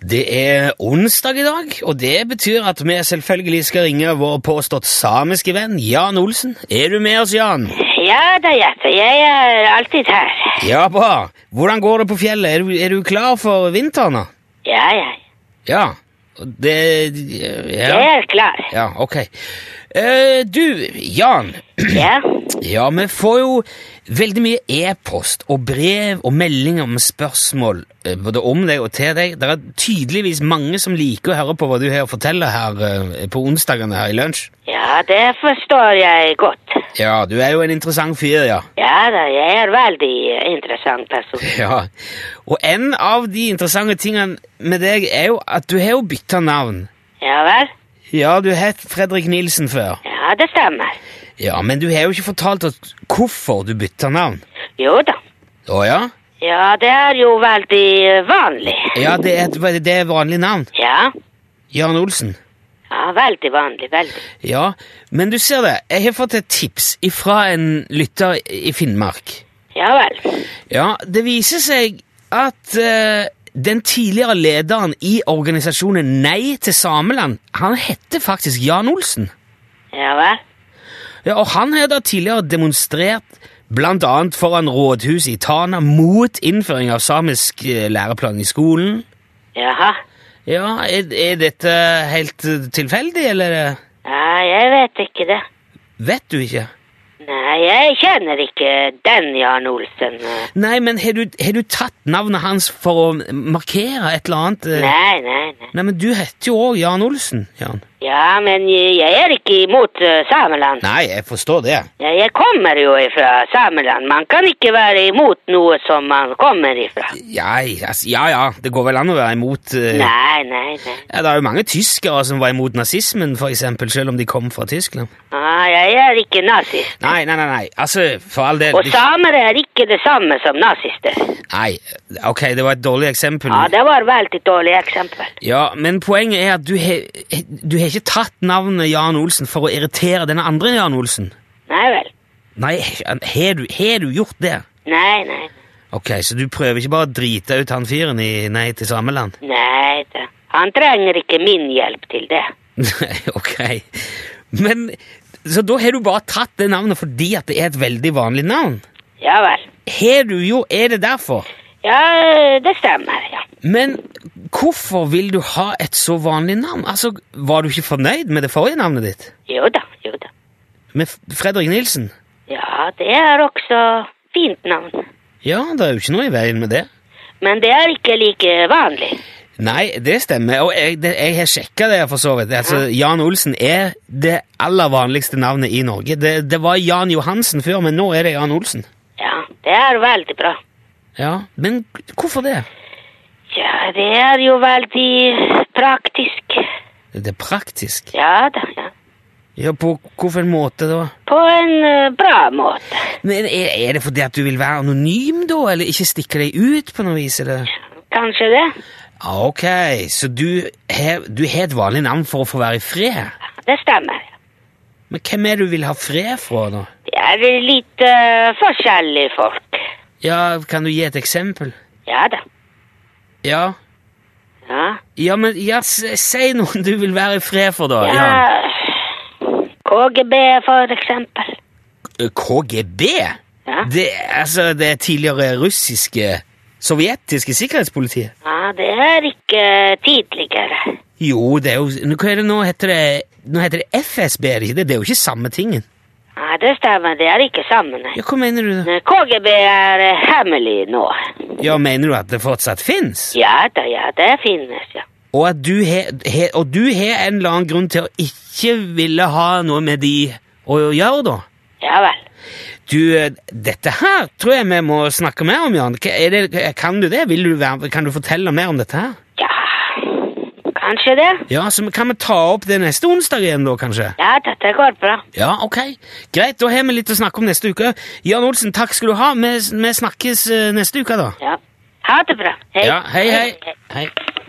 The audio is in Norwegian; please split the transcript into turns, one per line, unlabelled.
Det er onsdag i dag, og det betyr at vi selvfølgelig skal ringe vår påstått samiske venn Jan Olsen. Er du med oss, Jan?
Ja da, Jeppe. Jeg er alltid her.
Ja, bra. Hvordan går det på fjellet? Er du, er du klar for vinteren? da?
Ja, ja.
Ja. Det
Jeg
Ja,
er klar.
ja ok. Eh, du, Jan.
Ja.
Ja, vi får jo veldig mye e-post og brev og meldinger med spørsmål eh, både om deg og til deg. Det er tydeligvis mange som liker å høre på hva du har å fortelle her eh, på onsdagene her i lunsj.
Ja, det forstår jeg godt.
Ja, du er jo en interessant fyr, ja.
Ja da, jeg er veldig interessant person.
Ja, Og en av de interessante tingene med deg er jo at du har jo bytta navn.
Ja vel?
Ja, du het Fredrik Nilsen før.
Ja, det stemmer.
Ja, Men du har jo ikke fortalt oss hvorfor du bytta navn.
Jo da.
Å ja?
Ja, det er jo veldig eh, vanlig.
Ja, det er, et- det er vanlig navn.
Ja.
Jan Olsen.
Ja, veldig vanlig, veldig.
Ja, men du ser det. Jeg har fått et tips fra en lytter i Finnmark.
Ja vel.
Ja, det viser seg at eh, den tidligere lederen i organisasjonen Nei til Sameland, han heter faktisk Jan Olsen.
Ja vel.
Ja, og han har da tidligere demonstrert blant annet foran rådhuset i Tana mot innføring av samisk eh, læreplan i skolen.
Jaha.
Ja, er, er dette helt eh, tilfeldig, eller eh,
Ja, jeg vet ikke det.
vet du ikke?
Nei, jeg kjenner ikke den Jan Olsen. eh.
Nei, men har du, har du tatt navnet hans for å markere et eller annet? eh?
Nei, nei, nei.
Nei, men du heter jo òg Jan Olsen. Jan.
Ja, men jeg er ikke imot eh, Sameland.
Nei, jeg forstår det.
Ja, jeg kommer jo ifra Sameland. Man kan ikke være imot noe som man kommer ifra.
Ja, altså, ja, ja, det går vel an å være imot eh,
Nei, nei, nei.
ja, Det er jo mange tyskere som var imot nazismen, for eksempel, selv om de kom fra Tyskland.
Ah, jeg er ikke nazist.
Nei, nei, nei, nei. altså, for all del
Og
du-
samer er ikke det samme som nazister.
Nei, ok, det var et dårlig eksempel.
Ja, det var veldig dårlig eksempel.
Ja, Men poenget er at du har du har ikke tatt navnet Jan Olsen for å irritere denne andre Jan Olsen.
Nei vel.
Nei, har du, har du gjort det?
Nei, nei.
Ok, Så du prøver ikke bare å drite ut han fyren i Nei til Sameland?
Nei da. Han trenger ikke min hjelp til det.
Nei, ok. Men Så da har du bare tatt det navnet fordi at det er et veldig vanlig navn?
Ja vel.
Har du jo Er det derfor?
Ja, eh, det stemmer, ja.
Men hvorfor vil du ha et så vanlig navn? Altså, Var du ikke fornøyd med det forrige navnet ditt?
Jo da, jo da.
Med F- Fredrik Nilsen?
Ja, det er også fint navn.
Ja, det er jo ikke noe i veien med det.
Men det er ikke like vanlig.
Nei, det stemmer, og jeg, det, jeg har sjekka det for så vidt. Altså, Jan Olsen er det aller vanligste navnet i Norge. Det, det var Jan Johansen før, men nå er det Jan Olsen.
Ja, det er veldig bra.
Ja, Men hvorfor det?
Ja, det er jo veldig praktisk.
Det er praktisk.
Ja da, ja.
Ja, På hvilken måte da?
På en eh, bra måte.
Men er, er det fordi at du vil være anonym, da? Eller ikke stikke deg ut på noe vis? eller?
Kanskje det?
Ja, Ah, Ok, så du har du har et vanlig navn for å få være i fred?
Det stemmer.
Men hvem er det du vil ha fred fra, da?
Det er litt eh, forskjellige folk.
Ja, Kan du gi et eksempel?
Ja da.
Ja,
Ja.
Ja, men ja, s- si noen du vil være i fred for, da.
ja.
Jan.
KGB, for eksempel.
Eh, KGB?
Ja.
Det, altså, det tidligere russiske Sovjetiske sikkerhetspolitiet?
ja, det er ikke tidligere.
Jo, det er jo nå- Hva er det nå heter det? Nå heter det FSB, er det ikke det? Det er jo ikke samme tingen.
Ja, det stemmer. Det er ikke sammen.
Ja, Hva mener du? da?
Men KGB er eh, hemmelig nå.
Ja, Mener du at det fortsatt fins?
Ja da, ja, det finnes, ja.
Og at du har he- og du har en eller annen grunn til å ikke ville ha noe med de å gjøre, da?
Ja vel.
Du, eh, dette her tror jeg vi må snakke mer om, Jan. Hva- Er det, kan du det? Vil du være, kan du fortelle mer om dette her?
Ja, kanskje det.
Ja, så kan vi ta opp det neste onsdag igjen da, kanskje?
Ja, dette går bra.
Ja, ok. Greit, da har vi litt å snakke om neste uke. Jan Olsen, takk skal du ha. Vi, vi snakkes eh, neste uke, da. Dạ,
Ja. Ha det bra. Hei.
Ja, hei, hei. hei.